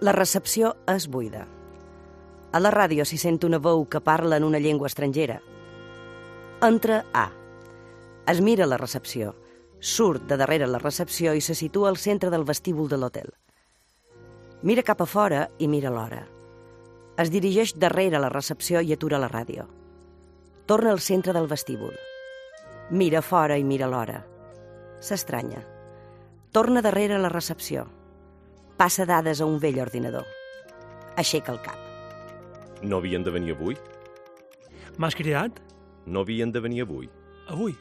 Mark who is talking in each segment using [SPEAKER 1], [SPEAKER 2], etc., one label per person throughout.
[SPEAKER 1] La recepció és buida. A la ràdio s'hi sent una veu que parla en una llengua estrangera. Entra A. Es mira la recepció, surt de darrere la recepció i se situa al centre del vestíbul de l'hotel. Mira cap a fora i mira l'hora. Es dirigeix darrere la recepció i atura la ràdio. Torna al centre del vestíbul. Mira fora i mira l'hora. S'estranya. Torna darrere la recepció. Passa dades a un vell ordinador. Aixeca el cap.
[SPEAKER 2] No havien de venir avui?
[SPEAKER 3] M'has cridat?
[SPEAKER 2] No havien de venir avui?
[SPEAKER 3] Avui?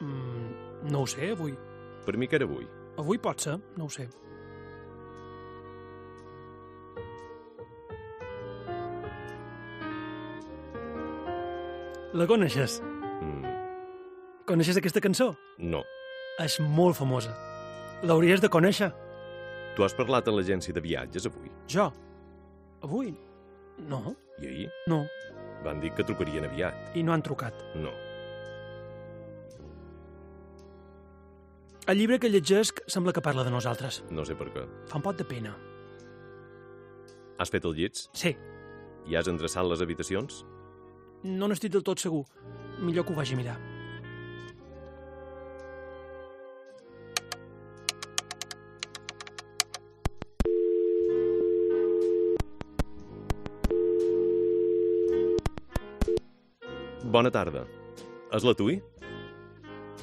[SPEAKER 3] Mm, no ho sé, avui.
[SPEAKER 2] Per mi que era avui.
[SPEAKER 3] Avui pot ser, no ho sé. La coneixes?
[SPEAKER 2] Mm,
[SPEAKER 3] Coneixes aquesta cançó?
[SPEAKER 2] no.
[SPEAKER 3] És molt famosa. L'hauries de conèixer.
[SPEAKER 2] Tu has parlat a l'agència de viatges avui?
[SPEAKER 3] Jo? Avui? No,
[SPEAKER 2] I ahir?
[SPEAKER 3] no.
[SPEAKER 2] Van dir que trucarien aviat.
[SPEAKER 3] I no han trucat.
[SPEAKER 2] No.
[SPEAKER 3] El llibre que llegesc sembla que parla de nosaltres.
[SPEAKER 2] No sé per què.
[SPEAKER 3] Fa un pot de pena.
[SPEAKER 2] Has fet els llits?
[SPEAKER 3] Sí,
[SPEAKER 2] I has endreçat les habitacions?
[SPEAKER 3] no n'estic del tot segur. Millor que ho vagi a mirar.
[SPEAKER 2] Bona tarda. És la Tui?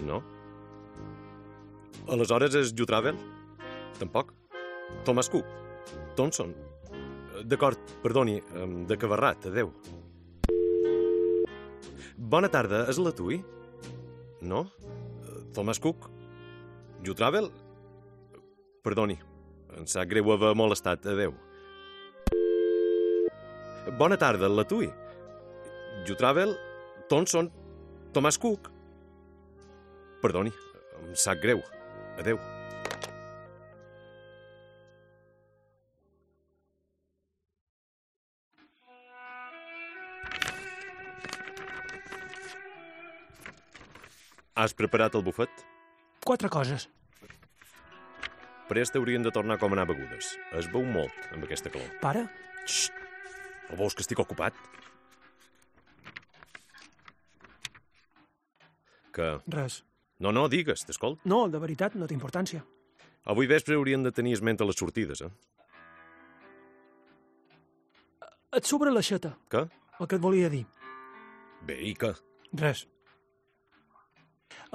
[SPEAKER 2] No. Aleshores és You Travel? Tampoc. Thomas Cook? Thompson? Eh, D'acord, perdoni, em, de Cabarrat, adeu. Bona tarda, és la Tui? No? Eh, Thomas Cook? You Travel? Perdoni, em sap greu haver molestat, adeu. Bona tarda, la Tui? You Travel? Thompson, Thomas Cook. Perdoni, em sap greu. Adeu. Has preparat el bufet?
[SPEAKER 3] Quatre coses.
[SPEAKER 2] Prest hauríem de tornar com anar begudes. Es veu molt amb aquesta calor.
[SPEAKER 3] Pare,
[SPEAKER 2] Xxt! No veus que estic ocupat? Que...
[SPEAKER 3] res.
[SPEAKER 2] No, no, digues, t'escolt.
[SPEAKER 3] No, de veritat, no té importància.
[SPEAKER 2] Avui vespre hauríem de tenir esment a les sortides, eh?
[SPEAKER 3] Et sobra la xeta,
[SPEAKER 2] Què?
[SPEAKER 3] el que et volia dir.
[SPEAKER 2] Bé, i què?
[SPEAKER 3] Res.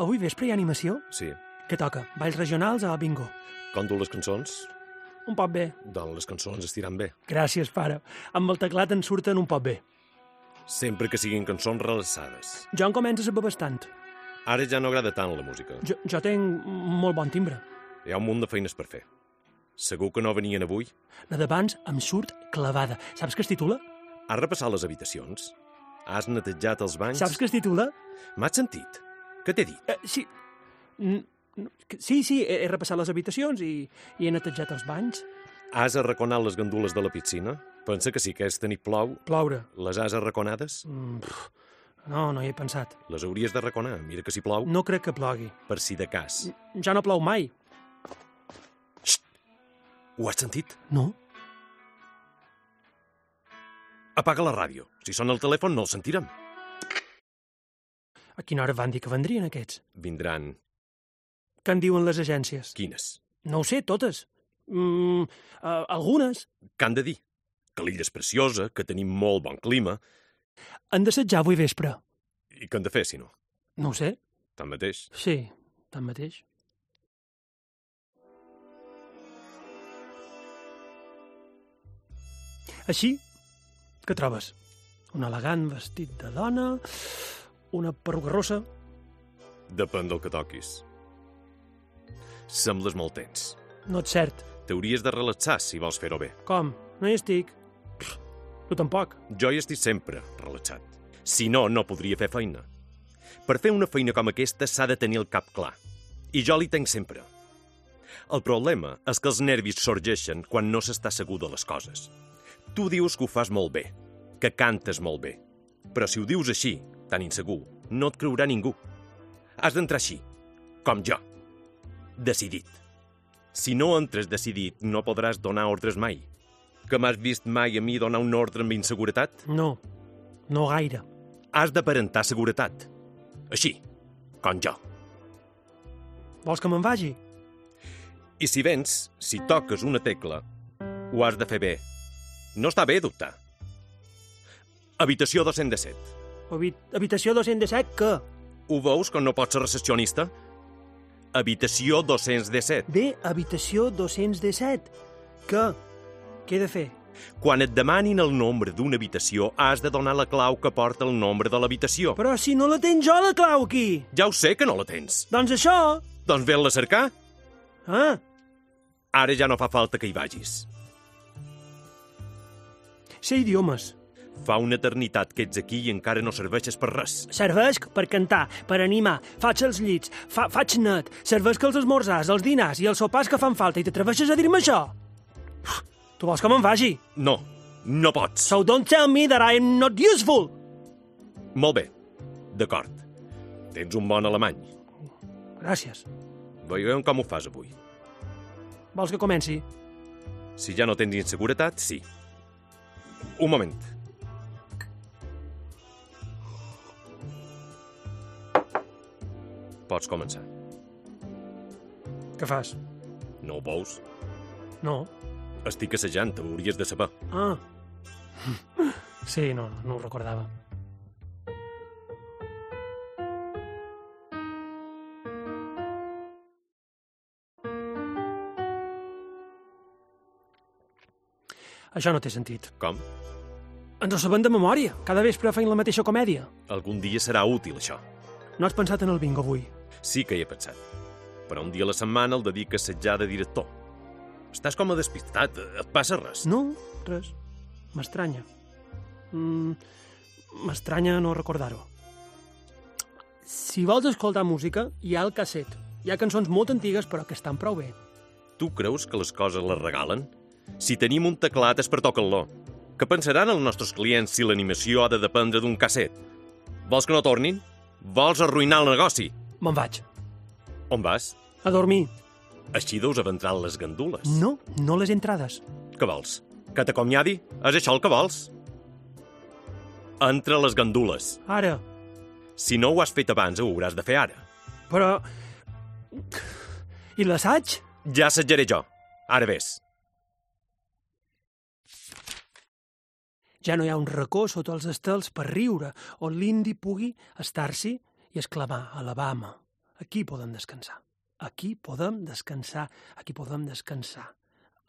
[SPEAKER 3] Avui vespre hi ha animació?
[SPEAKER 2] Sí.
[SPEAKER 3] Què toca? Balls regionals a bingo.
[SPEAKER 2] Com du les cançons?
[SPEAKER 3] Un pot bé.
[SPEAKER 2] Doncs les cançons estiran bé.
[SPEAKER 3] Gràcies, pare. Amb el teclat en surten un pot bé.
[SPEAKER 2] Sempre que siguin cançons relaxades.
[SPEAKER 3] Jo en començo a saber bastant.
[SPEAKER 2] Ara ja no agrada tant la música.
[SPEAKER 3] Jo, jo tenc molt bon timbre.
[SPEAKER 2] Hi ha un munt de feines per fer. Segur que no venien avui?
[SPEAKER 3] La d'abans em surt clavada. Saps què es titula?
[SPEAKER 2] Has repassat les habitacions? Has netejat els banys?
[SPEAKER 3] Saps què es titula?
[SPEAKER 2] M'has sentit? Què t'he dit?
[SPEAKER 3] Eh, sí. N- n- Sí, sí, he, he repassat les habitacions i, i he netejat els banys.
[SPEAKER 2] Has arraconat les gandules de la piscina? Pensa que sí que aquesta nit plou.
[SPEAKER 3] Ploure.
[SPEAKER 2] Les has arraconades?
[SPEAKER 3] Mm, pff, no, no hi he pensat.
[SPEAKER 2] Les hauries d'arraconar. Mira que si plou,
[SPEAKER 3] No crec que plogui.
[SPEAKER 2] per si de cas.
[SPEAKER 3] Ja no plou mai.
[SPEAKER 2] Ho has sentit?
[SPEAKER 3] No?
[SPEAKER 2] Apaga la ràdio. Si sona el telèfon, no el sentirem.
[SPEAKER 3] A quina hora van dir que vendrien aquests?
[SPEAKER 2] Vindran.
[SPEAKER 3] Què en diuen les agències?
[SPEAKER 2] Quines?
[SPEAKER 3] No ho sé, totes. Mm, eh, algunes.
[SPEAKER 2] Què han de dir? Que l'illa és preciosa, que tenim molt bon clima,
[SPEAKER 3] Han de setjar avui vespre.
[SPEAKER 2] i que han de fer, si no?
[SPEAKER 3] No ho sé.
[SPEAKER 2] Tanmateix,
[SPEAKER 3] Sí, tanmateix. Així, què trobes? Un elegant vestit de dona, una perruca rossa...
[SPEAKER 2] depèn del que toquis. Sembles molt tens.
[SPEAKER 3] No és cert.
[SPEAKER 2] T'hauries de relaxar si vols fer-ho bé.
[SPEAKER 3] Com? No hi estic. Pff, Tu tampoc.
[SPEAKER 2] Jo hi estic sempre relaxat. Si no, no podria fer feina. Per fer una feina com aquesta s'ha de tenir el cap clar. I jo l'hi tenc sempre. El problema és que els nervis sorgeixen quan no s'està segur de les coses. Tu dius que ho fas molt bé, que cantes molt bé. Però si ho dius així, tan insegur, no et creurà ningú. Has d'entrar així, com jo. Decidit. Si no entres decidit, no podràs donar ordres mai. Que m'has vist mai a mi donar un ordre amb inseguretat?
[SPEAKER 3] No, no gaire.
[SPEAKER 2] Has d'aparentar seguretat. Així, com jo.
[SPEAKER 3] Vols que me'n vagi?
[SPEAKER 2] I si vens, si toques una tecla, ho has de fer bé. No està bé dubtar. Habitació 207.
[SPEAKER 3] Habit habitació 207, què?
[SPEAKER 2] Ho veus com no pots ser recessionista? Habitació 217.
[SPEAKER 3] Bé, habitació 217. Què? Què he de fer?
[SPEAKER 2] Quan et demanin el nombre d'una habitació, has de donar la clau que porta el nombre de l'habitació.
[SPEAKER 3] Però si no la tens jo, la clau, aquí!
[SPEAKER 2] Ja ho sé que no la tens.
[SPEAKER 3] Doncs això!
[SPEAKER 2] Doncs ven-la a cercar.
[SPEAKER 3] Ah,
[SPEAKER 2] Ara ja no fa falta que hi vagis.
[SPEAKER 3] sé idiomes.
[SPEAKER 2] Fa una eternitat que ets aquí i encara no serveixes per res.
[SPEAKER 3] Servesc per cantar, per animar, faig els llits, fa, faig net, servesc els esmorzars, els dinars i els sopars que fan falta i t'atreveixes a dir-me això? Tu vols que me'n vagi?
[SPEAKER 2] No, no pots.
[SPEAKER 3] So don't tell me that I am not useful!
[SPEAKER 2] Molt bé, d'acord. Tens un bon alemany.
[SPEAKER 3] Gràcies.
[SPEAKER 2] Veiem com ho fas avui.
[SPEAKER 3] Vols que comenci?
[SPEAKER 2] Si ja no tens inseguretat, sí. Un moment. Pots començar.
[SPEAKER 3] Què fas?
[SPEAKER 2] No ho veus?
[SPEAKER 3] No.
[SPEAKER 2] Estic assajant, ho hauries de saber.
[SPEAKER 3] Ah. Sí, no, no ho recordava. Això no té sentit.
[SPEAKER 2] Com?
[SPEAKER 3] Ens ho sabem de memòria. Cada vespre feim la mateixa comèdia.
[SPEAKER 2] Algun dia serà útil, això.
[SPEAKER 3] No has pensat en el bingo avui?
[SPEAKER 2] Sí que hi he pensat. Però un dia a la setmana el dedica a assetjar de director. Estàs com a despistat, et passa res.
[SPEAKER 3] No, res. M'estranya. Mm, M'estranya no recordar-ho. Si vols escoltar música, hi ha el casset. Hi ha cançons molt antigues però que estan prou bé.
[SPEAKER 2] Tu creus que les coses les regalen? Si tenim un teclat és per tocar-lo. Què pensaran els nostres clients si l'animació ha de dependre d'un casset? Vols que no tornin? Vols arruïnar el negoci?
[SPEAKER 3] Me'n vaig.
[SPEAKER 2] On vas?
[SPEAKER 3] A dormir.
[SPEAKER 2] Així deus aventrar les gandules.
[SPEAKER 3] No, no les entrades.
[SPEAKER 2] Què vols? Que t'acomiadi? És això el que vols? Entra les gandules.
[SPEAKER 3] Ara.
[SPEAKER 2] Si no ho has fet abans, ho hauràs de fer ara.
[SPEAKER 3] Però... I l'assaig?
[SPEAKER 2] Ja assetjaré jo. Ara vés.
[SPEAKER 3] Ja no hi ha un racó sota els estels per riure, on l'indi pugui estar-s'hi i exclamar Alabama. Aquí podem descansar. Aquí podem descansar. Aquí podem descansar.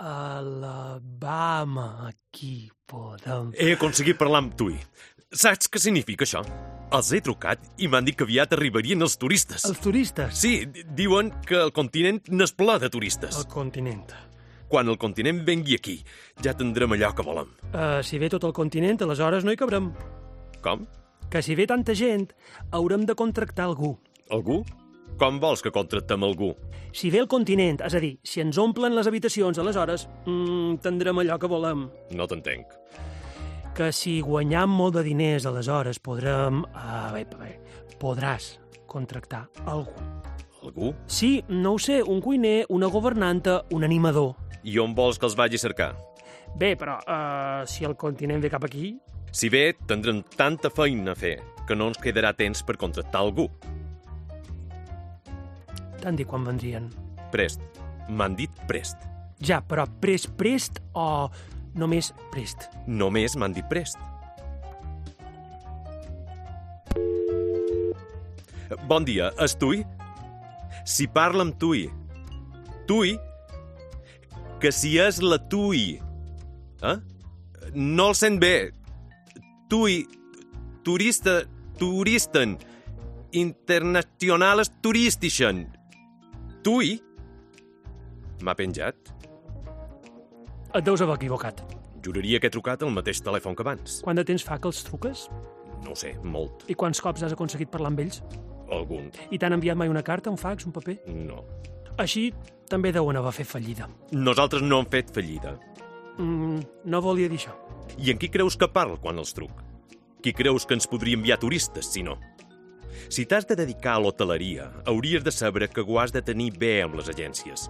[SPEAKER 3] Alabama. Aquí podem...
[SPEAKER 2] He aconseguit parlar amb tu. Saps què significa això? Els he trucat i m'han dit que aviat arribarien els turistes.
[SPEAKER 3] Els turistes.
[SPEAKER 2] Sí, di- diuen que el continent n'és ple de turistes.
[SPEAKER 3] El continent.
[SPEAKER 2] Quan el continent vengui aquí, ja tindrem allò que volem.
[SPEAKER 3] Uh, si ve tot el continent, aleshores no hi cabrem.
[SPEAKER 2] Com?
[SPEAKER 3] Que si ve tanta gent, haurem de contractar algú.
[SPEAKER 2] Algú? Com vols que contractem algú?
[SPEAKER 3] Si ve el continent, és a dir, si ens omplen les habitacions, aleshores mm, tindrem allò que volem.
[SPEAKER 2] No t'entenc.
[SPEAKER 3] que si guanyam molt de diners, aleshores podrem... A veure, a veure, podràs contractar algú.
[SPEAKER 2] Algú?
[SPEAKER 3] Sí, no ho sé, un cuiner, una governanta, un animador.
[SPEAKER 2] I on vols que els vagi a cercar?
[SPEAKER 3] Bé, però uh, si el continent ve cap aquí...
[SPEAKER 2] Si bé, tindrem tanta feina a fer que no ens quedarà temps per contractar algú.
[SPEAKER 3] Tant dir quan vendrien.
[SPEAKER 2] Prest. M'han dit prest.
[SPEAKER 3] Ja, però prest, prest o només prest?
[SPEAKER 2] Només m'han dit prest. Bon dia, és Tui? Si parla amb Tui. Tui? Que si és la Tui. Eh? No el sent bé. Tui, turista, turisten, internacionales turistischen. Tui? M'ha penjat?
[SPEAKER 3] Et deus haver equivocat.
[SPEAKER 2] Juraria que he trucat al mateix telèfon que abans.
[SPEAKER 3] Quant de temps fa que els truques?
[SPEAKER 2] No ho sé, molt.
[SPEAKER 3] I quants cops has aconseguit parlar amb ells?
[SPEAKER 2] Algun,
[SPEAKER 3] I t'han enviat mai una carta, un fax, un paper?
[SPEAKER 2] no.
[SPEAKER 3] Així també deuen haver fet fallida.
[SPEAKER 2] Nosaltres no hem fet fallida.
[SPEAKER 3] Mm, no volia dir això.
[SPEAKER 2] I en qui creus que parla quan els truc? Qui creus que ens podria enviar turistes, si no? Si t'has de dedicar a l'hoteleria, hauries de saber que ho has de tenir bé amb les agències.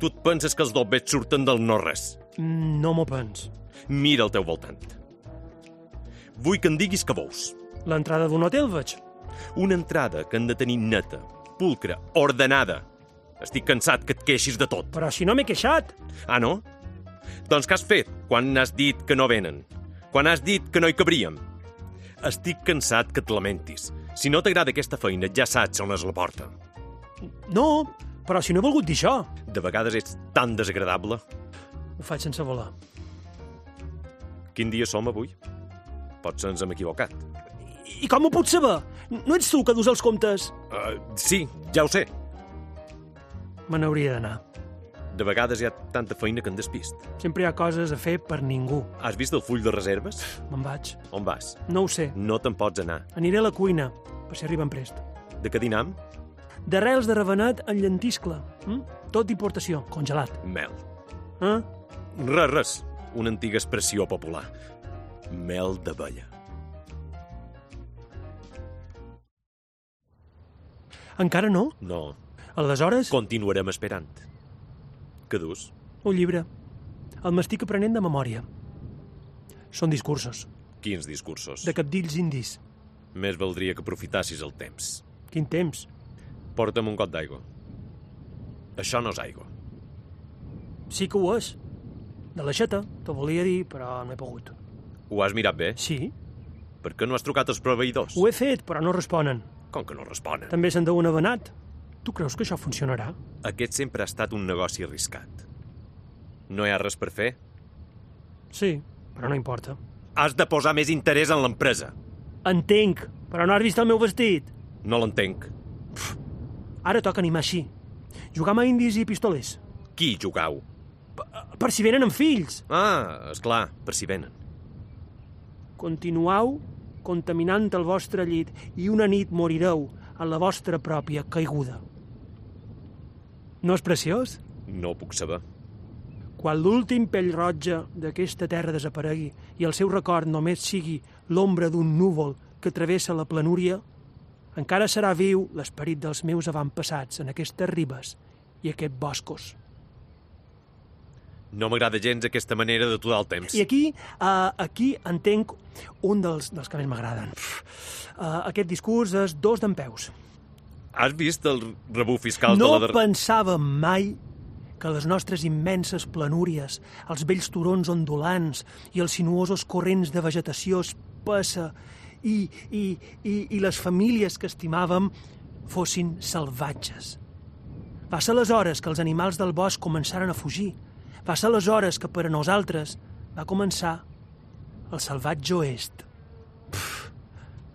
[SPEAKER 2] Tu et penses que els dobbets surten del no-res.
[SPEAKER 3] Mm, No m'ho pens.
[SPEAKER 2] Mira al teu voltant. Vull que em diguis que veus.
[SPEAKER 3] L'entrada d'un hotel, veig.
[SPEAKER 2] Una entrada que han de tenir neta, pulcra, ordenada. Estic cansat que et queixis de tot.
[SPEAKER 3] Però si no m'he queixat.
[SPEAKER 2] Ah, no? Doncs què has fet quan has dit que no venen? Quan has dit que no hi cabríem? Estic cansat que et lamentis. Si no t'agrada aquesta feina, ja saps on és la porta.
[SPEAKER 3] No, però si no he volgut dir això.
[SPEAKER 2] De vegades ets tan desagradable.
[SPEAKER 3] Ho faig sense voler.
[SPEAKER 2] Quin dia som avui? Potser ens hem equivocat.
[SPEAKER 3] I com ho puc saber? No ets tu que dus els comptes?
[SPEAKER 2] Uh, sí, ja ho sé.
[SPEAKER 3] Me n'hauria d'anar.
[SPEAKER 2] De vegades hi ha tanta feina que en despist.
[SPEAKER 3] Sempre hi ha coses a fer per ningú.
[SPEAKER 2] Has vist el full de reserves?
[SPEAKER 3] Me'n vaig.
[SPEAKER 2] On vas?
[SPEAKER 3] No ho sé.
[SPEAKER 2] No te'n pots anar.
[SPEAKER 3] Aniré a la cuina, per si arriben prest.
[SPEAKER 2] De què dinam?
[SPEAKER 3] D'arrels de ravenat en llentiscle. Mm? Tot importació, congelat.
[SPEAKER 2] Mel.
[SPEAKER 3] Eh?
[SPEAKER 2] Res, res. Una antiga expressió popular. Mel d'abella.
[SPEAKER 3] Encara no?
[SPEAKER 2] No,
[SPEAKER 3] Aleshores,
[SPEAKER 2] Continuarem esperant. Que dus?
[SPEAKER 3] un llibre. El m'estic aprenent de memòria. Són discursos,
[SPEAKER 2] Quins discursos?
[SPEAKER 3] de capdills indis.
[SPEAKER 2] Més valdria que aprofitassis el temps.
[SPEAKER 3] Quin temps.
[SPEAKER 2] Porta'm un got d'aigua. Això no és aigua.
[SPEAKER 3] Sí que ho és. De l'aixeta, t'ho volia dir, però no he pogut.
[SPEAKER 2] Ho has mirat bé?
[SPEAKER 3] Sí,
[SPEAKER 2] Per què no has trucat als proveïdors?
[SPEAKER 3] ho he fet, però no responen.
[SPEAKER 2] Com que no responen?
[SPEAKER 3] També se'n deuen avenat. Tu creus que això funcionarà?
[SPEAKER 2] Aquest sempre ha estat un negoci arriscat. No hi ha res per fer?
[SPEAKER 3] Sí, però no importa.
[SPEAKER 2] Has de posar més interès en l'empresa.
[SPEAKER 3] Entenc, però no has vist el meu vestit.
[SPEAKER 2] No l'entenc.
[SPEAKER 3] Ara toca animar així. Jugar amb indis i pistolers.
[SPEAKER 2] Qui hi jugau?
[SPEAKER 3] Per si venen amb fills.
[SPEAKER 2] Ah, és clar, per si venen.
[SPEAKER 3] Continuau contaminant el vostre llit i una nit morireu a la vostra pròpia caiguda. No és preciós?
[SPEAKER 2] No ho puc saber.
[SPEAKER 3] Quan l'últim pell roja d'aquesta terra desaparegui i el seu record només sigui l'ombra d'un núvol que travessa la planúria, encara serà viu l'esperit dels meus avantpassats en aquestes ribes i aquests boscos.
[SPEAKER 2] No m'agrada gens aquesta manera d'aturar el temps.
[SPEAKER 3] I aquí, uh, aquí entenc un dels, dels que més m'agraden. Uh, aquest discurs és dos d'en peus.
[SPEAKER 2] Has vist el rebut fiscal
[SPEAKER 3] No
[SPEAKER 2] de la... darrera-
[SPEAKER 3] pensàvem mai que les nostres immenses planúries, els vells turons ondulants i els sinuosos corrents de vegetació espessa i, i, i, i les famílies que estimàvem fossin salvatges. Va ser aleshores que els animals del bosc començaren a fugir. Va ser aleshores que per a nosaltres va començar el salvatge oest. Pff,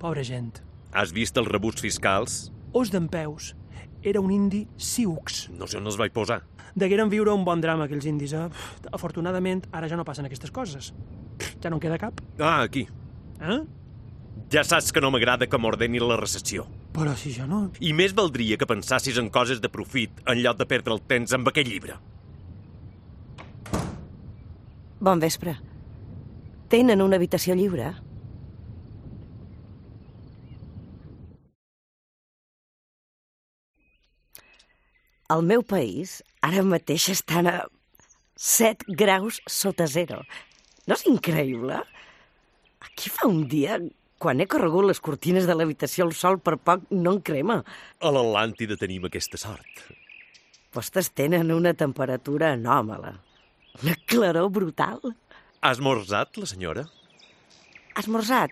[SPEAKER 3] pobra gent.
[SPEAKER 2] Has vist els rebuts fiscals?
[SPEAKER 3] Os d'en peus era un indi siux.
[SPEAKER 2] No sé on els vaig posar.
[SPEAKER 3] Degueren viure un bon drama, aquells indis, eh? Pff, Afortunadament, ara ja no passen aquestes coses. Pff, Ja no en queda cap,
[SPEAKER 2] Ah, aquí.
[SPEAKER 3] eh?
[SPEAKER 2] Ja saps que no m'agrada que m'ordeni la recessió.
[SPEAKER 3] Però si jo no...
[SPEAKER 2] I més valdria que pensassis en coses de profit en lloc de perdre el temps amb aquest llibre.
[SPEAKER 1] Bon vespre. Tenen una habitació lliure? Al meu país, ara mateix estan a 7 graus sota zero. No és increïble? Aquí fa un dia, quan he corregut les cortines de l'habitació, el sol per poc no en crema.
[SPEAKER 2] A l'Atlàntida tenim aquesta sort.
[SPEAKER 1] Vostès tenen una temperatura anòmala. Una claror brutal.
[SPEAKER 2] Ha esmorzat la senyora?
[SPEAKER 1] Esmorzat?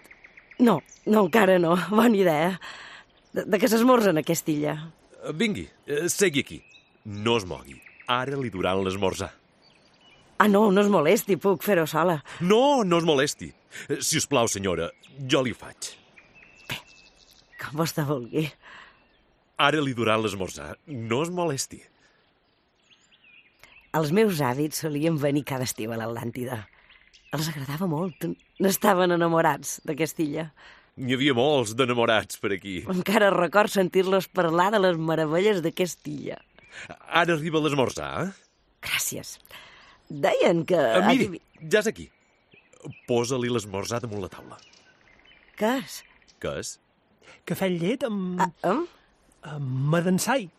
[SPEAKER 1] No, no, encara no. Bona idea. De, de què s'esmorzen a aquesta illa?
[SPEAKER 2] Eh, Vingui, eh, segui aquí. No es mogui. Ara li duran l'esmorzar.
[SPEAKER 1] Ah, no, no es molesti, puc fer-ho sola.
[SPEAKER 2] No, no es molesti. Eh, Si us plau, senyora, jo li ho faig.
[SPEAKER 1] Com vostè vulgui.
[SPEAKER 2] Ara li duran l'esmorzar. No es molesti.
[SPEAKER 1] Els meus hàbits solien venir cada estiu a l'Atlàntida. Els agradava molt. N'estaven enamorats d'aquesta illa.
[SPEAKER 2] N'hi havia molts d'enamorats per aquí.
[SPEAKER 1] Encara record sentir-los parlar de les meravelles d'aquesta illa.
[SPEAKER 2] Ara arriba l'esmorzar, eh?
[SPEAKER 1] Gràcies. Deien que...
[SPEAKER 2] Eh, miri,
[SPEAKER 1] adivi-
[SPEAKER 2] ja és aquí. Posa-li l'esmorzar damunt la taula.
[SPEAKER 1] Què és?
[SPEAKER 2] Què és?
[SPEAKER 3] Cafè amb llet amb,
[SPEAKER 1] Ah, eh?
[SPEAKER 3] amb medansai.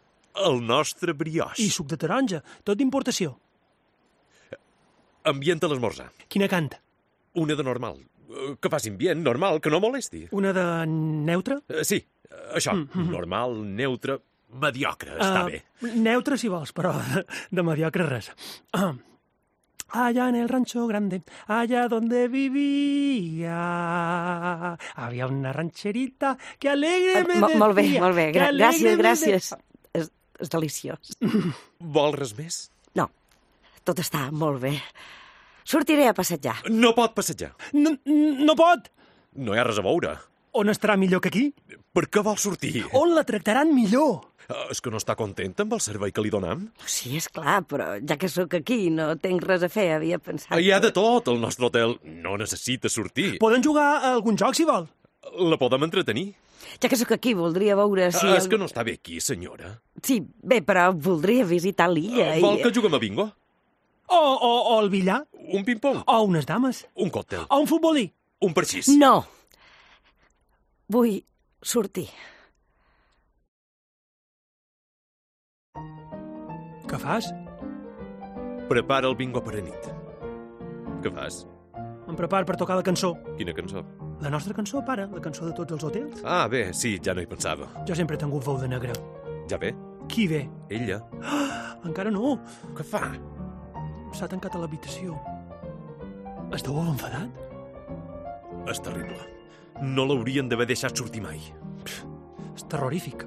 [SPEAKER 2] El nostre brioix.
[SPEAKER 3] I suc de taronja, tot d'importació.
[SPEAKER 2] Ambient a l'esmorzar.
[SPEAKER 3] Quina canta?
[SPEAKER 2] Una de normal. Eh, Que faci ambient, normal, que no molesti.
[SPEAKER 3] Una de neutra?
[SPEAKER 2] Eh, Sí, eh, això, normal, neutre, mediocre, està
[SPEAKER 3] Ah,
[SPEAKER 2] bé.
[SPEAKER 3] Neutra, si vols, però de, de mediocre res. Ah. Allá en el rancho grande, allá donde vivía, había una rancherita que alegre me
[SPEAKER 1] Ah, Mo-
[SPEAKER 3] decía...
[SPEAKER 1] Molt bé, molt bé.
[SPEAKER 3] que
[SPEAKER 1] Gra
[SPEAKER 3] alegre me
[SPEAKER 1] gràcies,
[SPEAKER 3] de-
[SPEAKER 1] gràcies. És, és deliciós.
[SPEAKER 2] Vol res més?
[SPEAKER 1] No, tot està molt bé. Sortiré a passejar.
[SPEAKER 2] No pot passejar.
[SPEAKER 3] No, no pot!
[SPEAKER 2] No hi ha res a veure.
[SPEAKER 3] On estarà millor que aquí?
[SPEAKER 2] Per què vol sortir?
[SPEAKER 3] On la tractaran millor?
[SPEAKER 2] Eh, És que no està content amb el servei que li donam?
[SPEAKER 1] Sí, és clar, però ja que sóc aquí no tenc res a fer, havia pensat...
[SPEAKER 2] Hi ha de tot, el nostre hotel. No necessita sortir.
[SPEAKER 3] Poden jugar a algun joc, si vol.
[SPEAKER 2] La podem entretenir.
[SPEAKER 1] Ja que sóc aquí, voldria veure si...
[SPEAKER 2] Sí, Ah, és
[SPEAKER 1] el-
[SPEAKER 2] que no està bé aquí, senyora.
[SPEAKER 1] Sí, bé, però voldria visitar l'illa
[SPEAKER 2] Eh,
[SPEAKER 1] i...
[SPEAKER 2] Vol que juguem a bingo?
[SPEAKER 3] O, o, o el billar,
[SPEAKER 2] Un ping-pong?
[SPEAKER 3] o unes dames,
[SPEAKER 2] Oh! Un còctel?
[SPEAKER 3] o un futbolí.
[SPEAKER 2] Un parxís?
[SPEAKER 1] No! Vull sortir.
[SPEAKER 3] Què fas?
[SPEAKER 2] Prepara el bingo per a nit. Què fas?
[SPEAKER 3] Em preparo per tocar la cançó.
[SPEAKER 2] Quina cançó?
[SPEAKER 3] La nostra cançó, pare, la cançó de tots els hotels.
[SPEAKER 2] Ah, bé, sí, ja no hi pensava.
[SPEAKER 3] Jo sempre he tingut veu de negre.
[SPEAKER 2] Ja ve?
[SPEAKER 3] Qui ve?
[SPEAKER 2] Ella?
[SPEAKER 3] Encara no.
[SPEAKER 2] Què fa?
[SPEAKER 3] S'ha tancat a l'habitació. Esteu enfadat?
[SPEAKER 2] És terrible. No l'haurien d'haver deixat sortir mai.
[SPEAKER 3] És terrorífic.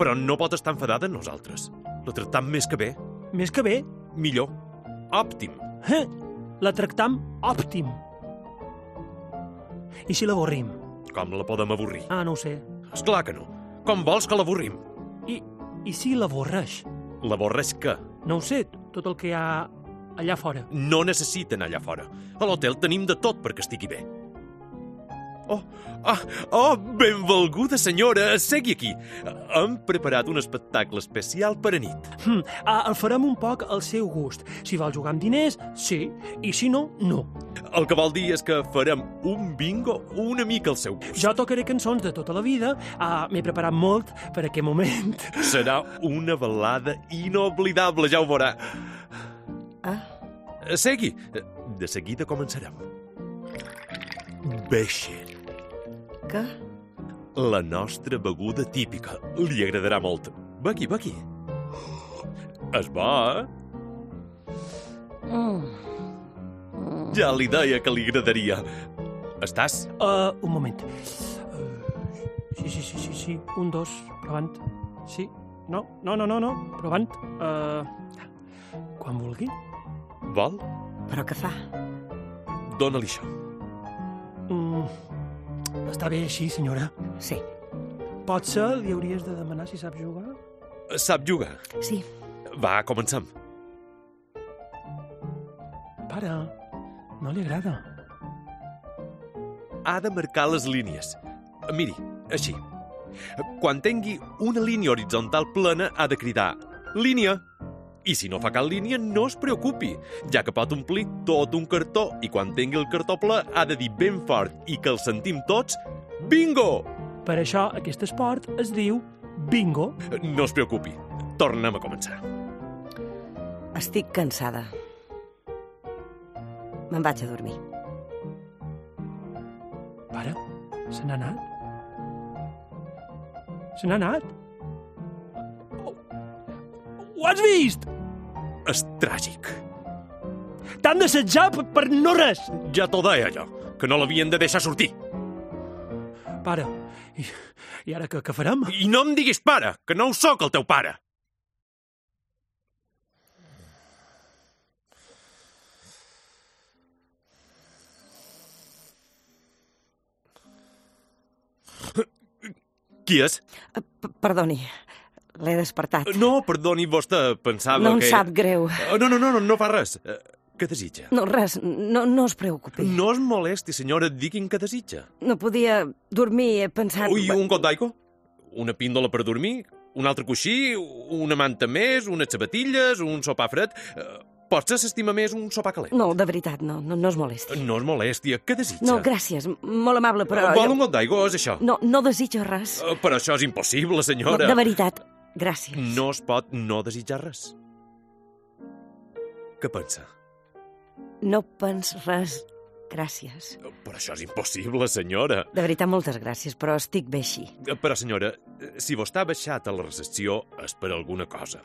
[SPEAKER 2] Però no pot estar enfadada en nosaltres. La tractam més que bé,
[SPEAKER 3] Més que bé,
[SPEAKER 2] millor, òptim.
[SPEAKER 3] eh? la tractam òptim. I si l'avorrim?
[SPEAKER 2] Com la podem avorrir?
[SPEAKER 3] Ah, no ho sé.
[SPEAKER 2] És clar que no. Com vols que l'avorrim?
[SPEAKER 3] I, i si l'avorreix?
[SPEAKER 2] L'avorreix que
[SPEAKER 3] No ho sé, tot el que hi ha allà fora.
[SPEAKER 2] no necessiten allà fora. A l'hotel tenim de tot perquè estigui bé. Oh, ah, oh, benvolguda senyora, segui aquí. Hem preparat un espectacle especial per a nit.
[SPEAKER 3] Hm, ah, el farem un poc al seu gust. Si vol jugar amb diners, sí, i si no, no.
[SPEAKER 2] El que vol dir és que farem un bingo una mica al seu gust.
[SPEAKER 3] Jo tocaré cançons de tota la vida, ah, m'he preparat molt per aquest moment.
[SPEAKER 2] Serà una balada inoblidable, ja ho veurà.
[SPEAKER 1] Ah.
[SPEAKER 2] Segui. De seguida començarem. Beixe,
[SPEAKER 1] Que?
[SPEAKER 2] la nostra beguda típica. Li agradarà molt. Va aquí, va aquí. Es va, eh?
[SPEAKER 1] Mm.
[SPEAKER 2] Ja li deia que li agradaria. Estàs?
[SPEAKER 3] Uh, un moment. Uh, sí, sí, sí, sí, sí. Un, dos, provant. Sí. No, no, no, no, no. Provant. Uh, quan vulgui.
[SPEAKER 2] Vol?
[SPEAKER 1] Però què fa?
[SPEAKER 2] Dóna-li això.
[SPEAKER 3] Mm, està bé així, senyora.
[SPEAKER 1] Sí,
[SPEAKER 3] Potser li hauries de demanar si sap jugar?
[SPEAKER 2] Sap jugar.
[SPEAKER 1] sí.
[SPEAKER 2] Va, comencem.
[SPEAKER 3] Pare, no li agrada.
[SPEAKER 2] ha de marcar les línies. Miri, així. Quan tingui una línia horitzontal plana, ha de cridar línia. I si no fa cap línia, no es preocupi, ja que pot omplir tot un cartó i quan tingui el cartó ple ha de dir ben fort i que el sentim tots bingo!
[SPEAKER 3] Per això aquest esport es diu bingo.
[SPEAKER 2] No es preocupi, tornem a començar.
[SPEAKER 1] Estic cansada. Me'n vaig a dormir.
[SPEAKER 3] Pare, se n'ha anat? Se n'ha anat? Oh, ho has vist?
[SPEAKER 2] És tràgic.
[SPEAKER 3] T'han d'assetjar per, per no res.
[SPEAKER 2] Ja t'ho deia jo, que no l'havien de deixar sortir.
[SPEAKER 3] Pare, i, i ara què, què farem?
[SPEAKER 2] I no em diguis pare, que no ho sóc el teu pare. Qui és?
[SPEAKER 1] Eh, p- Perdoni, l'he despertat.
[SPEAKER 2] No, perdoni, vostè pensava
[SPEAKER 1] No em
[SPEAKER 2] que...
[SPEAKER 1] sap greu.
[SPEAKER 2] Eh, No, no, no, no, no fa res. Eh, Què desitja?
[SPEAKER 1] No, res, no, no es preocupi.
[SPEAKER 2] No es molesti, senyora, digui'm què desitja.
[SPEAKER 1] No podia dormir, he pensat...
[SPEAKER 2] Ui, un got d'aigua? Una píndola per dormir? Un altre coixí? Una manta més? Unes sabatilles? Un sopar fred? Eh, Potser s'estima més un sopar calent?
[SPEAKER 1] No, de veritat, no, no, no es molesti.
[SPEAKER 2] No és molèstia, què desitja?
[SPEAKER 1] No, gràcies, m- molt amable, però...
[SPEAKER 2] Vol un got d'aigua, és això?
[SPEAKER 1] No, no desitjo res.
[SPEAKER 2] Eh, Però això és impossible,
[SPEAKER 1] No,
[SPEAKER 2] senyora.
[SPEAKER 1] de veritat, Gràcies.
[SPEAKER 2] No es pot no desitjar res. Què pensa?
[SPEAKER 1] No pens res. Gràcies.
[SPEAKER 2] Però això és impossible, senyora.
[SPEAKER 1] De veritat, moltes gràcies, però estic bé així.
[SPEAKER 2] Però, senyora, si vostè ha baixat a la recepció és per alguna cosa.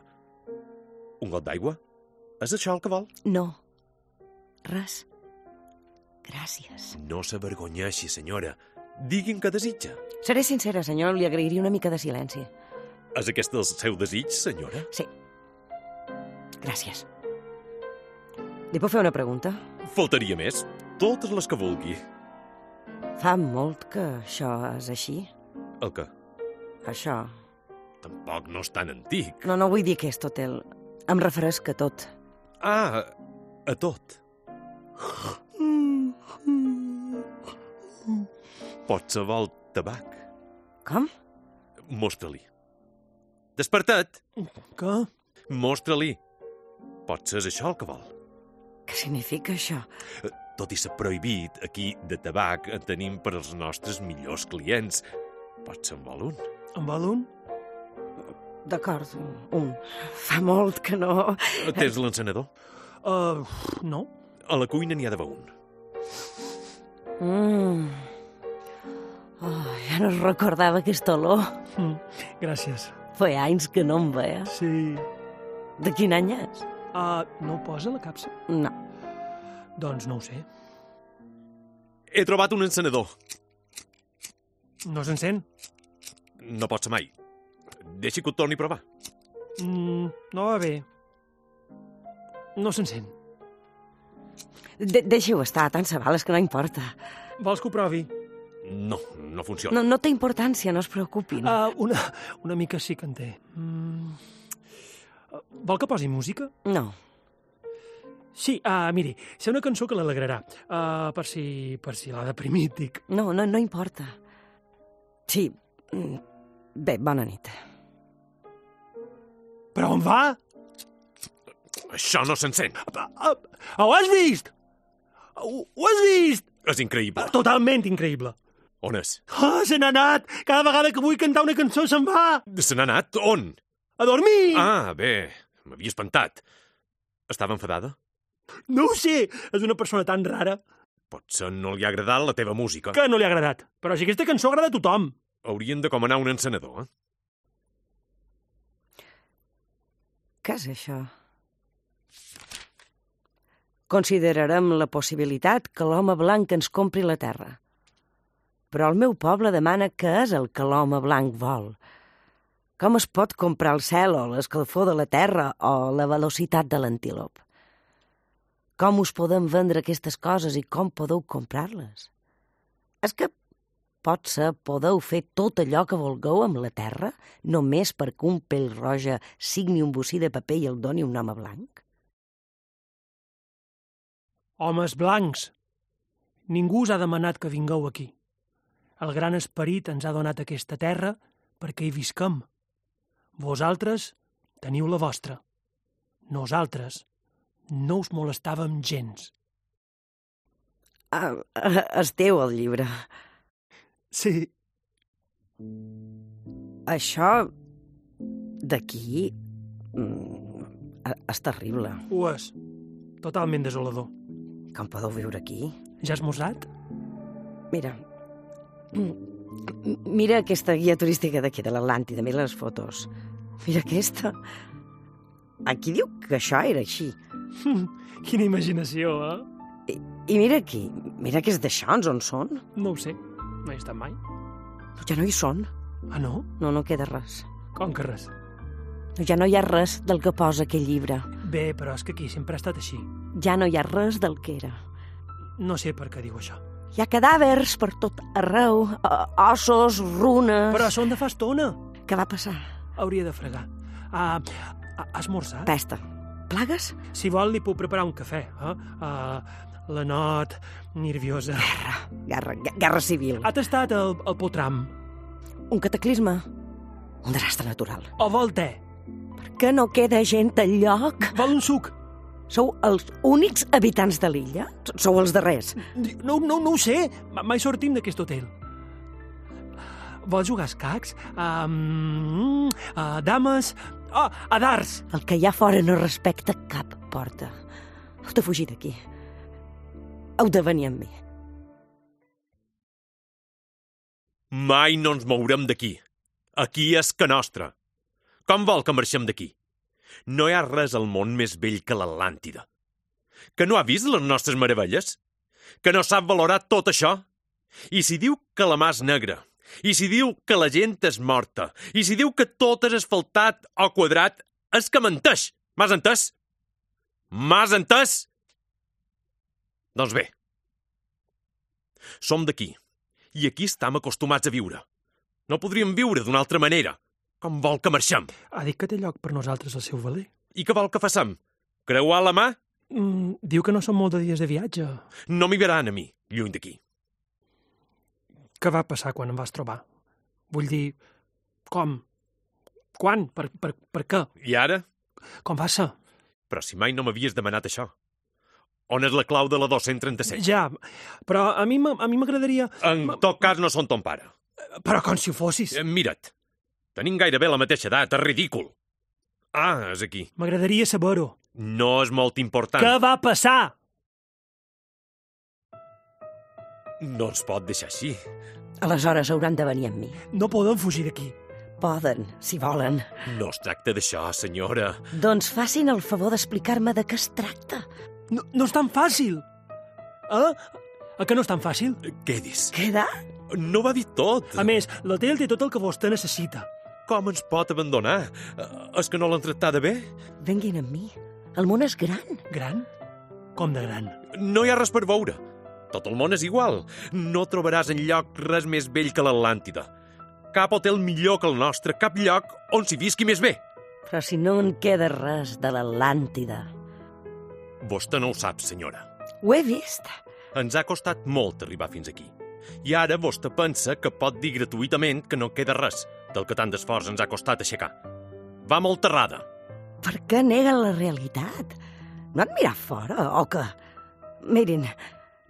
[SPEAKER 2] Un got d'aigua? És això el que vol?
[SPEAKER 1] No. Res. Gràcies.
[SPEAKER 2] No s'avergonyeixi, senyora. Digui'm què desitja.
[SPEAKER 1] Seré sincera, senyor, li agrairia una mica de silenci.
[SPEAKER 2] És aquest el seu desig, senyora?
[SPEAKER 1] Sí. Gràcies. Li puc fer una pregunta?
[SPEAKER 2] Faltaria més. Totes les que vulgui.
[SPEAKER 1] Fa molt que això és així?
[SPEAKER 2] El que?
[SPEAKER 1] Això...
[SPEAKER 2] Tampoc no és tan antic.
[SPEAKER 1] No, no vull dir que és tot el... Em refresca tot.
[SPEAKER 2] Ah, a tot. Qualsevol tabac.
[SPEAKER 1] Com?
[SPEAKER 2] Mostra-li. Despertat!
[SPEAKER 3] Que?
[SPEAKER 2] Mostra-li. Potser és això el que vol.
[SPEAKER 1] Què significa això?
[SPEAKER 2] Tot i ser prohibit, aquí de tabac en tenim per als nostres millors clients. Potser en vol un.
[SPEAKER 3] En vol un?
[SPEAKER 1] D'acord, un. Fa molt que no...
[SPEAKER 2] Eh, Tens l'encenedor?
[SPEAKER 3] Uh, no.
[SPEAKER 2] A la cuina n'hi ha d'haver un.
[SPEAKER 1] Mm. Oh, ja no es recordava aquesta olor.
[SPEAKER 3] Mm. Gràcies.
[SPEAKER 1] Fa anys que no em veia.
[SPEAKER 3] Sí.
[SPEAKER 1] De quin any és?
[SPEAKER 3] Uh, no ho posa la capsa?
[SPEAKER 1] No.
[SPEAKER 3] Doncs no ho sé.
[SPEAKER 2] He trobat un encenedor.
[SPEAKER 3] No s'encén?
[SPEAKER 2] No pot ser mai. Deixi que ho torni a provar.
[SPEAKER 3] Mm, no va bé. No s'encén.
[SPEAKER 1] De Deixi-ho estar, tant se val, és que no importa.
[SPEAKER 3] Vols que ho provi?
[SPEAKER 2] No, no funciona.
[SPEAKER 1] No, no té importància, no es preocupin.
[SPEAKER 3] Uh, una, una mica sí que en té. Mm. Uh, vol que posi música?
[SPEAKER 1] No.
[SPEAKER 3] Sí, uh, miri, sé una cançó que l'alegrarà. Uh, per si, per si l'ha deprimit, dic.
[SPEAKER 1] No, no, no importa. Sí. mm, Bé, bona nit.
[SPEAKER 3] Però on va? Ah,
[SPEAKER 2] Això no s'encén.
[SPEAKER 3] Uh, uh, ho has vist? Uh, ho has vist?
[SPEAKER 2] És increïble.
[SPEAKER 3] Uh, totalment increïble.
[SPEAKER 2] On és?
[SPEAKER 3] Ah, se n'ha anat! Cada vegada que vull cantar una cançó se'n va!
[SPEAKER 2] Se n'ha anat? On?
[SPEAKER 3] A dormir!
[SPEAKER 2] Ah, bé. M'havia espantat. Estava enfadada?
[SPEAKER 3] No ho sé! És una persona tan rara
[SPEAKER 2] Potser no li ha agradat la teva música.
[SPEAKER 3] que no li ha agradat. Però si aquesta cançó agrada a tothom.
[SPEAKER 2] Haurien de comanar un encenedor, eh?
[SPEAKER 1] Què és això? Considerarem la possibilitat que l'home blanc ens compri la terra. Però el meu poble demana què és el que l'home blanc vol. Com es pot comprar el cel o l'escalfor de la terra o la velocitat de l'antílop? Com us podem vendre aquestes coses i com podeu comprar-les? És que potser podeu fer tot allò que vulgueu amb la terra només perquè un pell roja signi un bocí de paper i el doni un home blanc?
[SPEAKER 3] Homes blancs. Ningú us ha demanat que vingueu aquí. El gran esperit ens ha donat aquesta terra perquè hi visquem. Vosaltres teniu la vostra. Nosaltres no us molestàvem gens.
[SPEAKER 1] Ah, ah, és teu el llibre.
[SPEAKER 3] Sí.
[SPEAKER 1] Això d'aquí mm, e- és terrible.
[SPEAKER 3] Ho és. Totalment desolador.
[SPEAKER 1] Com podeu viure aquí?
[SPEAKER 3] Ja has mosat?
[SPEAKER 1] Mira, mm, mira aquesta guia turística d'aquí, de l'Atlàntida, mira les fotos. Mira aquesta. Aquí diu que això era així.
[SPEAKER 3] Quina imaginació, eh?
[SPEAKER 1] I mira aquí, mira que és d'aixons on són.
[SPEAKER 3] No ho sé. No hi he estat mai.
[SPEAKER 1] Ja no hi són.
[SPEAKER 3] Ah, no?
[SPEAKER 1] No, no queda res.
[SPEAKER 3] Com que res?
[SPEAKER 1] Ja no hi ha res del que posa aquell llibre.
[SPEAKER 3] Bé, però és que aquí sempre ha estat així.
[SPEAKER 1] Ja no hi ha res del que era.
[SPEAKER 3] No sé per què diu això.
[SPEAKER 1] Hi ha cadàvers per tot arreu, o- ossos, runes...
[SPEAKER 3] Però són de fa estona.
[SPEAKER 1] Què va passar?
[SPEAKER 3] Hauria de fregar. Ah, a- esmorzar?
[SPEAKER 1] Pesta. Plagues?
[SPEAKER 3] Si vol, li puc preparar un cafè. Eh? Ah, la not, nerviosa.
[SPEAKER 1] Guerra, gue- guerra civil.
[SPEAKER 3] Ha tastat el, el potram.
[SPEAKER 1] Un cataclisme. Un desastre natural.
[SPEAKER 3] O vol te?
[SPEAKER 1] Per què no queda gent al lloc?
[SPEAKER 3] Vol un suc?
[SPEAKER 1] Sou els únics habitants de l'illa? S- Sou els darrers.
[SPEAKER 3] No, no, no ho sé. Ma- Mai sortim d'aquest hotel. Vols jugar a escacs? A, mm, a dames? Oh, a darts!
[SPEAKER 1] El que hi ha fora no respecta cap porta. Heu de fugir d'aquí. Heu de venir amb mi.
[SPEAKER 2] Mai no ens mourem d'aquí. Aquí és que nostra. Com vol que marxem d'aquí? No hi ha res al món més vell que l'Atlàntida. Que no ha vist les nostres meravelles? Que no sap valorar tot això? I si diu que la mà és negra? I si diu que la gent és morta? I si diu que tot és asfaltat o quadrat? És que menteix! M'has entès? M'has entès? Doncs bé. Som d'aquí. I aquí estem acostumats a viure. No podríem viure d'una altra manera. Com vol que marxem?
[SPEAKER 3] Ha dit que té lloc per nosaltres el seu valer.
[SPEAKER 2] I què vol que façam? Creuar la mà?
[SPEAKER 3] Mm, diu que no són molt de dies de viatge.
[SPEAKER 2] No m'hi veran a mi, lluny d'aquí.
[SPEAKER 3] Què va passar quan em vas trobar? Vull dir, com? Quan? Per, per, per què?
[SPEAKER 2] I ara?
[SPEAKER 3] Com va ser?
[SPEAKER 2] Però si mai no m'havies demanat això. On és la clau de la 237?
[SPEAKER 3] Ja, però a mi m- a mi m'agradaria...
[SPEAKER 2] En tot cas, no són ton pare.
[SPEAKER 3] Però com si ho fossis.
[SPEAKER 2] Eh, Mira't. Tenim gairebé la mateixa edat, és ridícul. Ah, és aquí.
[SPEAKER 3] M'agradaria saber-ho.
[SPEAKER 2] No és molt important.
[SPEAKER 3] Què va passar?
[SPEAKER 2] No ens pot deixar així.
[SPEAKER 1] Aleshores hauran de venir amb mi.
[SPEAKER 3] No podem fugir d'aquí.
[SPEAKER 1] Poden, si volen.
[SPEAKER 2] No es tracta d'això, senyora.
[SPEAKER 1] Doncs facin el favor d'explicar-me de què es tracta.
[SPEAKER 3] No, no és tan fàcil. Eh? A que no és tan fàcil?
[SPEAKER 2] Què dis?
[SPEAKER 1] Queda?
[SPEAKER 2] No va dir tot.
[SPEAKER 3] A més, l'hotel té tot el que vostè necessita.
[SPEAKER 2] Com ens pot abandonar? Eh, És que no l'han tractada bé?
[SPEAKER 1] Venguin amb mi. El món és gran.
[SPEAKER 3] Gran? Com de gran?
[SPEAKER 2] No hi ha res per veure. Tot el món és igual. No trobaràs en lloc res més vell que l'Atlàntida. Cap hotel millor que el nostre, cap lloc on s'hi visqui més bé.
[SPEAKER 1] Però si no en queda res de l'Atlàntida.
[SPEAKER 2] Vostè no ho sap, senyora.
[SPEAKER 1] Ho he vist.
[SPEAKER 2] Ens ha costat molt arribar fins aquí. I ara vostè pensa que pot dir gratuïtament que no queda res del que tant d'esforç ens ha costat aixecar. Va molt errada.
[SPEAKER 1] Per què neguen la realitat? No han mirat fora, o què? Mirin,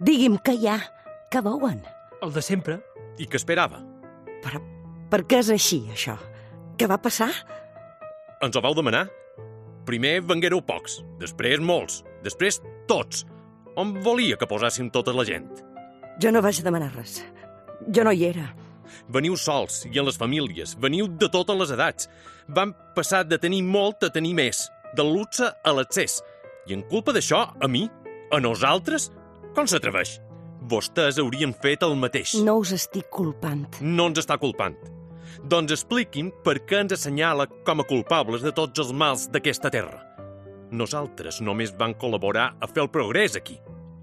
[SPEAKER 1] digui'm què hi ha, què veuen.
[SPEAKER 3] El de sempre.
[SPEAKER 2] I que esperava?
[SPEAKER 1] Però per què és així, això? Què va passar?
[SPEAKER 2] Ens ho vau demanar? Primer venguéreu pocs, després molts, després tots. On volia que posàssim tota la gent?
[SPEAKER 1] Jo no vaig demanar res. Jo no hi era.
[SPEAKER 2] Veniu sols i en les famílies, veniu de totes les edats. Vam passar de tenir molt a tenir més, del luxe a l'excés. I en culpa d'això, a mi, a nosaltres, com s'atreveix? Vostès haurien fet el mateix.
[SPEAKER 1] No us estic culpant.
[SPEAKER 2] No ens està culpant. Doncs expliqui'm per què ens assenyala com a culpables de tots els mals d'aquesta terra. Nosaltres només vam col·laborar a fer el progrés aquí.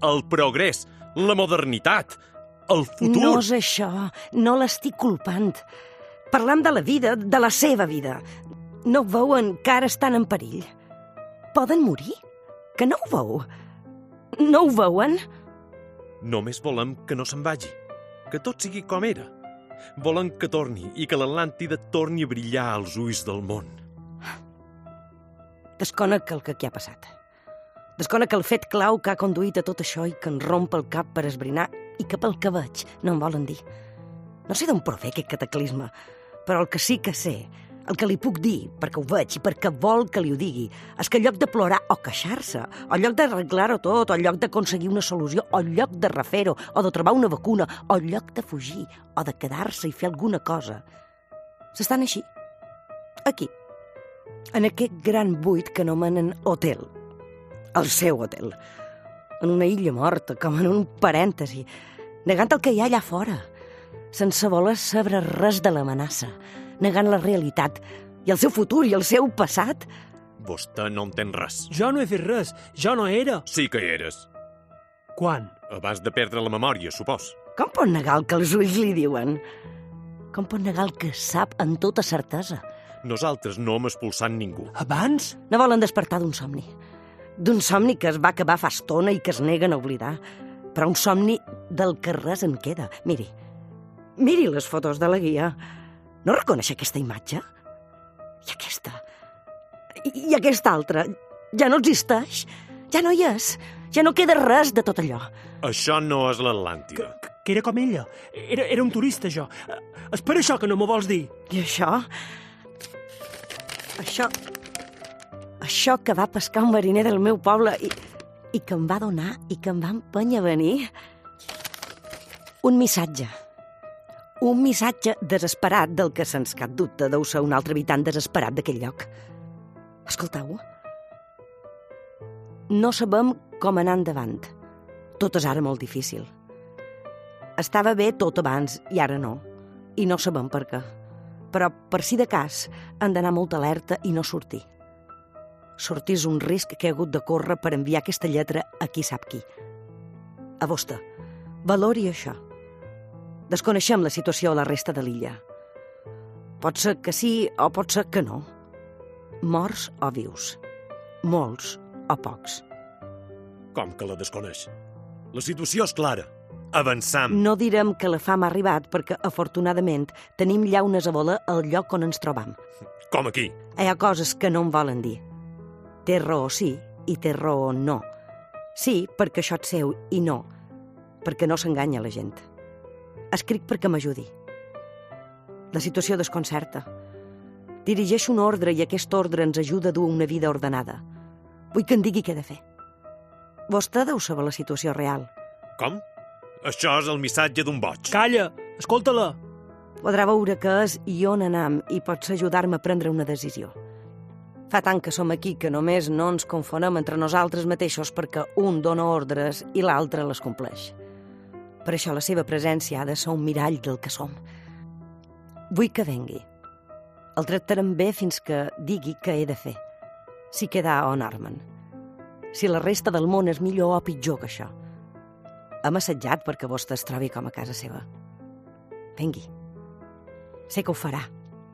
[SPEAKER 2] El progrés, la modernitat, el futur...
[SPEAKER 1] No és això. No l'estic culpant. Parlam de la vida, de la seva vida. No veuen que ara estan en perill. Poden morir? Que no ho veu? No ho veuen?
[SPEAKER 2] Només volem que no se'n vagi, que tot sigui com era. Volem que torni i que l'Atlàntida torni a brillar als ulls del món.
[SPEAKER 1] Desconec el que aquí ha passat. Desconec el fet clau que ha conduït a tot això i que en romp el cap per esbrinar i que pel que veig no em volen dir. No sé d'on prové aquest cataclisme, però el que sí que sé, el que li puc dir, perquè ho veig i perquè vol que li ho digui, és que en lloc de plorar o queixar-se, o en lloc d'arreglar-ho tot, o en lloc d'aconseguir una solució, o en lloc de refer-ho, o de trobar una vacuna, o en lloc de fugir, o de quedar-se i fer alguna cosa, s'estan així, aquí, en aquest gran buit que anomenen hotel. El seu hotel. En una illa morta, com en un parèntesi, negant el que hi ha allà fora, sense voler saber res de l'amenaça, negant la realitat i el seu futur i el seu passat.
[SPEAKER 2] Vostè no entén res.
[SPEAKER 3] Jo no he fet res. Jo no era.
[SPEAKER 2] Sí que hi eres.
[SPEAKER 3] Quan?
[SPEAKER 2] Abans de perdre la memòria, supos.
[SPEAKER 1] Com pot negar el que els ulls li diuen? Com pot negar el que sap amb tota certesa?
[SPEAKER 2] Nosaltres no hem expulsat ningú.
[SPEAKER 3] Abans?
[SPEAKER 1] No volen despertar d'un somni. D'un somni que es va acabar fa estona i que es neguen a oblidar. Però un somni del que res en queda. Miri, miri les fotos de la guia. No reconeix aquesta imatge? I aquesta? I, i aquesta altra? Ja no existeix? Ja no hi és? Ja no queda res de tot allò.
[SPEAKER 2] Això no és
[SPEAKER 3] Que,
[SPEAKER 2] l'Atlàntida.
[SPEAKER 3] que- que era com ella. Era, era un turista, jo. Eh, És per això que no m'ho vols dir.
[SPEAKER 1] I això... Això... Això que va pescar un mariner del meu poble i, i que em va donar i que em va empènyer a venir... Un missatge. Un missatge desesperat del que se'ns cap dubte deu ser un altre habitant desesperat d'aquell lloc. Escolteu-ho. No sabem com anar endavant. Tot és ara molt difícil. Estava bé tot abans i ara no. I no sabem per què però per si de cas han d'anar molt alerta i no sortir. Sortir és un risc que he hagut de córrer per enviar aquesta lletra a qui sap qui. A vostè, valori això. Desconeixem la situació a la resta de l'illa. Pot ser que sí o pot ser que no. Morts o vius. Molts o pocs.
[SPEAKER 2] Com que la desconeix? La situació és clara. Avançam.
[SPEAKER 1] No direm que la fam ha arribat perquè, afortunadament, tenim llaunes a voler al lloc on ens trobam.
[SPEAKER 2] Com aquí.
[SPEAKER 1] Hi ha coses que no em volen dir. Té raó sí i té raó no. Sí, perquè això és seu, i no, perquè no s'enganya la gent. Escric perquè m'ajudi. La situació desconcerta. Dirigeixo un ordre i aquest ordre ens ajuda a dur una vida ordenada. Vull que em digui què he de fer. Vostè deu saber la situació real.
[SPEAKER 2] Com? Això és el missatge d'un boig.
[SPEAKER 3] Calla! Escolta-la!
[SPEAKER 1] Podrà veure què és i on anam i pots ajudar-me a prendre una decisió. Fa tant que som aquí que només no ens confonem entre nosaltres mateixos perquè un dona ordres i l'altre les compleix. Per això la seva presència ha de ser un mirall del que som. Vull que vengui. El tractarem bé fins que digui què he de fer. Si queda on armen. Si la resta del món és millor o pitjor que això. Hem assetjat perquè vostè es trobi com a casa seva. Vengui. Sé que ho farà.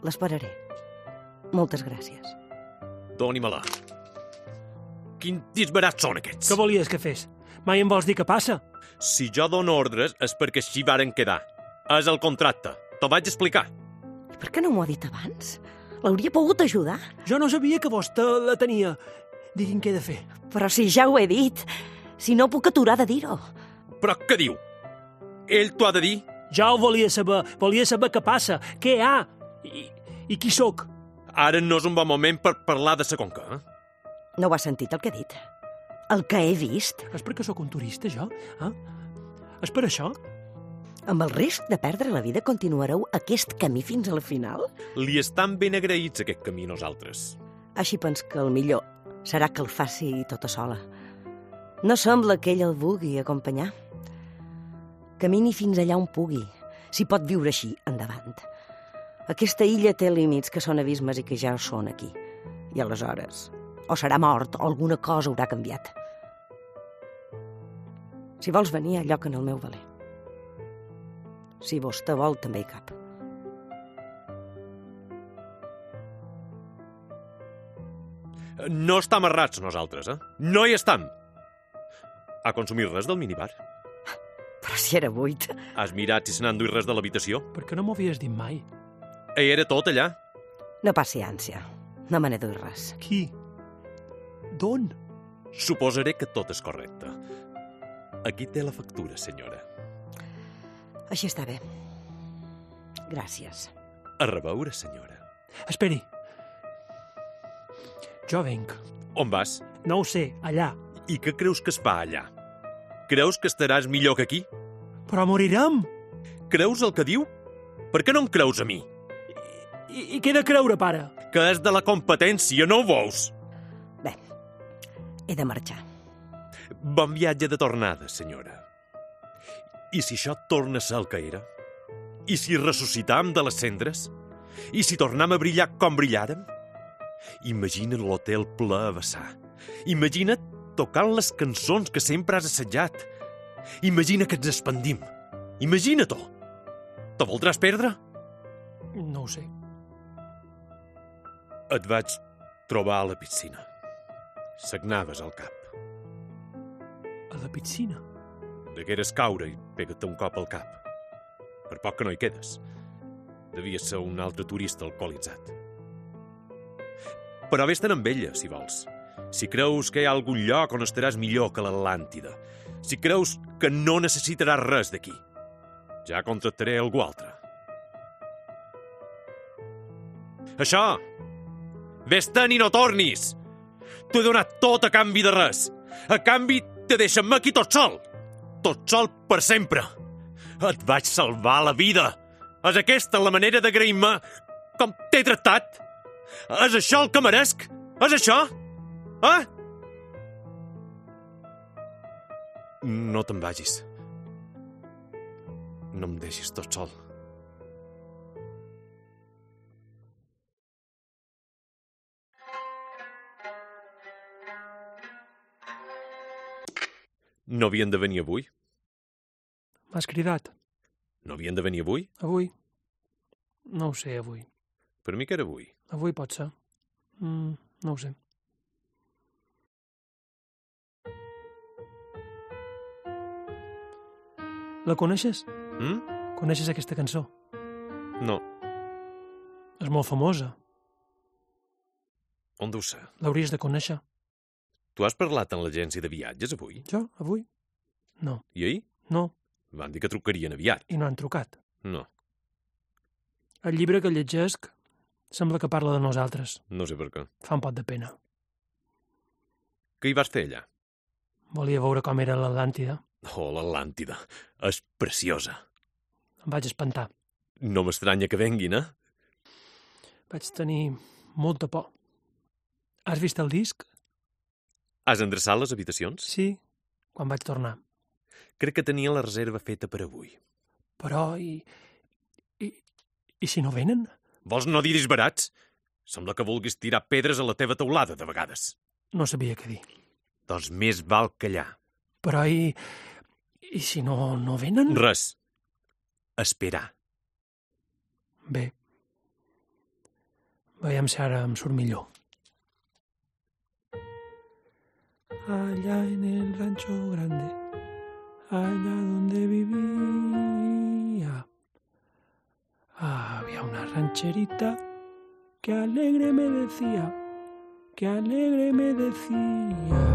[SPEAKER 1] L'esperaré. Moltes gràcies.
[SPEAKER 2] Doni-me-la. Quin disbarat són aquests?
[SPEAKER 3] Què volies que fes? Mai em vols dir què passa?
[SPEAKER 2] Si jo dono ordres és perquè així varen quedar. És el contracte. T'ho vaig explicar.
[SPEAKER 1] I per què no m'ho ha dit abans? L'hauria pogut ajudar?
[SPEAKER 3] Jo no sabia que vostè la tenia. Digui'm què he de fer.
[SPEAKER 1] Però si ja ho he dit. Si no, puc aturar de dir-ho.
[SPEAKER 2] Però què diu? Ell t'ho ha de dir?
[SPEAKER 3] Ja ho volia saber. Volia saber què passa, què hi ha i, i qui sóc.
[SPEAKER 2] Ara no és un bon moment per parlar de sa conca, eh?
[SPEAKER 1] No ho has sentit, el que he dit? El que he vist,
[SPEAKER 3] És perquè sóc un turista, jo? Eh? És per això?
[SPEAKER 1] amb el risc de perdre la vida, continuareu aquest camí fins al final?
[SPEAKER 2] Li estan ben agraïts aquest camí a nosaltres.
[SPEAKER 1] Així pens que el millor serà que el faci tota sola. No sembla que ell el vulgui acompanyar. Camini fins allà on pugui, si pot viure així, endavant. Aquesta illa té límits que són abismes i que ja són aquí. I aleshores, o serà mort o alguna cosa haurà canviat. Si vols venir, a lloc en el meu valer. Si vostè vol, també hi cap.
[SPEAKER 2] No estem errats nosaltres, eh? No hi estem! A consumir res del minibar?
[SPEAKER 1] Però si era buit.
[SPEAKER 2] Has mirat si se n'ha enduit res de l'habitació?
[SPEAKER 3] Per què no m'ho havies dit mai?
[SPEAKER 2] Hi era tot allà?
[SPEAKER 1] No passi ànsia. No me n'he duit res.
[SPEAKER 3] Qui? D'on?
[SPEAKER 2] Suposaré que tot és correcte. Aquí té la factura, senyora.
[SPEAKER 1] Així està bé. Gràcies.
[SPEAKER 2] A reveure, senyora.
[SPEAKER 3] Esperi. Jo venc.
[SPEAKER 2] On vas?
[SPEAKER 3] No ho sé, allà.
[SPEAKER 2] I què creus que es fa allà? Creus que estaràs millor que aquí?
[SPEAKER 3] Però morirem!
[SPEAKER 2] Creus el que diu? Per què no em creus a mi?
[SPEAKER 3] I, i què he de creure, pare?
[SPEAKER 2] Que és de la competència, no ho veus?
[SPEAKER 1] Bé, he de marxar.
[SPEAKER 2] Bon viatge de tornada, senyora. I si això torna a ser el que era? I si ressuscitam de les cendres? I si tornam a brillar com brillàrem? Imagina't l'hotel ple a vessar. Imagina't tocant les cançons que sempre has assetjat. Imagina que ens expandim. Imagina-t'ho. Te voldràs perdre?
[SPEAKER 3] No ho sé.
[SPEAKER 2] Et vaig trobar a la piscina. Sagnaves el cap.
[SPEAKER 3] A la piscina.
[SPEAKER 2] Degueres caure i pega't un cop al cap. Per poc que no hi quedes. Devia ser un altre turista alcoholitzat. Però vés-te'n amb ella, si vols. Si creus que hi ha algun lloc on estaràs millor que l'Atlàntida. Si creus que no necessitaràs res d'aquí. Ja contractaré algú altre. Això! Vés-te'n i no tornis! T'ho he donat tot a canvi de res. A canvi, te deixem aquí tot sol. Tot sol per sempre. Et vaig salvar la vida. És aquesta la manera d'agrair-me com t'he tractat? És això el que meresc? És això? Eh? No te'n vagis. No em deixis tot sol. No havien de venir avui?
[SPEAKER 3] M'has cridat.
[SPEAKER 2] No havien de venir avui?
[SPEAKER 3] Avui? No ho sé, avui.
[SPEAKER 2] Per mi que era avui.
[SPEAKER 3] Avui pot ser. Mm, no ho sé. La coneixes?
[SPEAKER 2] Mm?
[SPEAKER 3] Coneixes aquesta cançó?
[SPEAKER 2] No.
[SPEAKER 3] És molt famosa.
[SPEAKER 2] On deu ser?
[SPEAKER 3] L'hauries de conèixer.
[SPEAKER 2] Tu has parlat amb l'agència de viatges avui?
[SPEAKER 3] Jo, avui? No,
[SPEAKER 2] I ahir?
[SPEAKER 3] no,
[SPEAKER 2] Van dir que trucarien aviat.
[SPEAKER 3] i no han trucat.
[SPEAKER 2] No,
[SPEAKER 3] El llibre que llegesc sembla que parla de nosaltres.
[SPEAKER 2] no sé per què.
[SPEAKER 3] Fa un pot de pena.
[SPEAKER 2] Què hi vas fer allà?
[SPEAKER 3] Volia veure com era l'Atlàntida.
[SPEAKER 2] Oh, l'Atlàntida. És preciosa.
[SPEAKER 3] Em vaig espantar.
[SPEAKER 2] No m'estranya que venguin, eh?
[SPEAKER 3] Vaig tenir molta por. Has vist el disc?
[SPEAKER 2] Has endreçat les habitacions?
[SPEAKER 3] Sí. Quan vaig tornar.
[SPEAKER 2] Crec que tenia la reserva feta per avui.
[SPEAKER 3] Però i... i, i si no venen?
[SPEAKER 2] Vols no dir disbarats? Sembla que vulguis tirar pedres a la teva teulada, de vegades.
[SPEAKER 3] No sabia què dir.
[SPEAKER 2] Doncs més val callar.
[SPEAKER 3] Però i... i si no, no venen?
[SPEAKER 2] Res. Esperar.
[SPEAKER 3] Bé. Veiem si ara em surt millor. Allá en el rancho grande, allá donde vivía, había una rancherita que alegre me decía, que alegre me decía.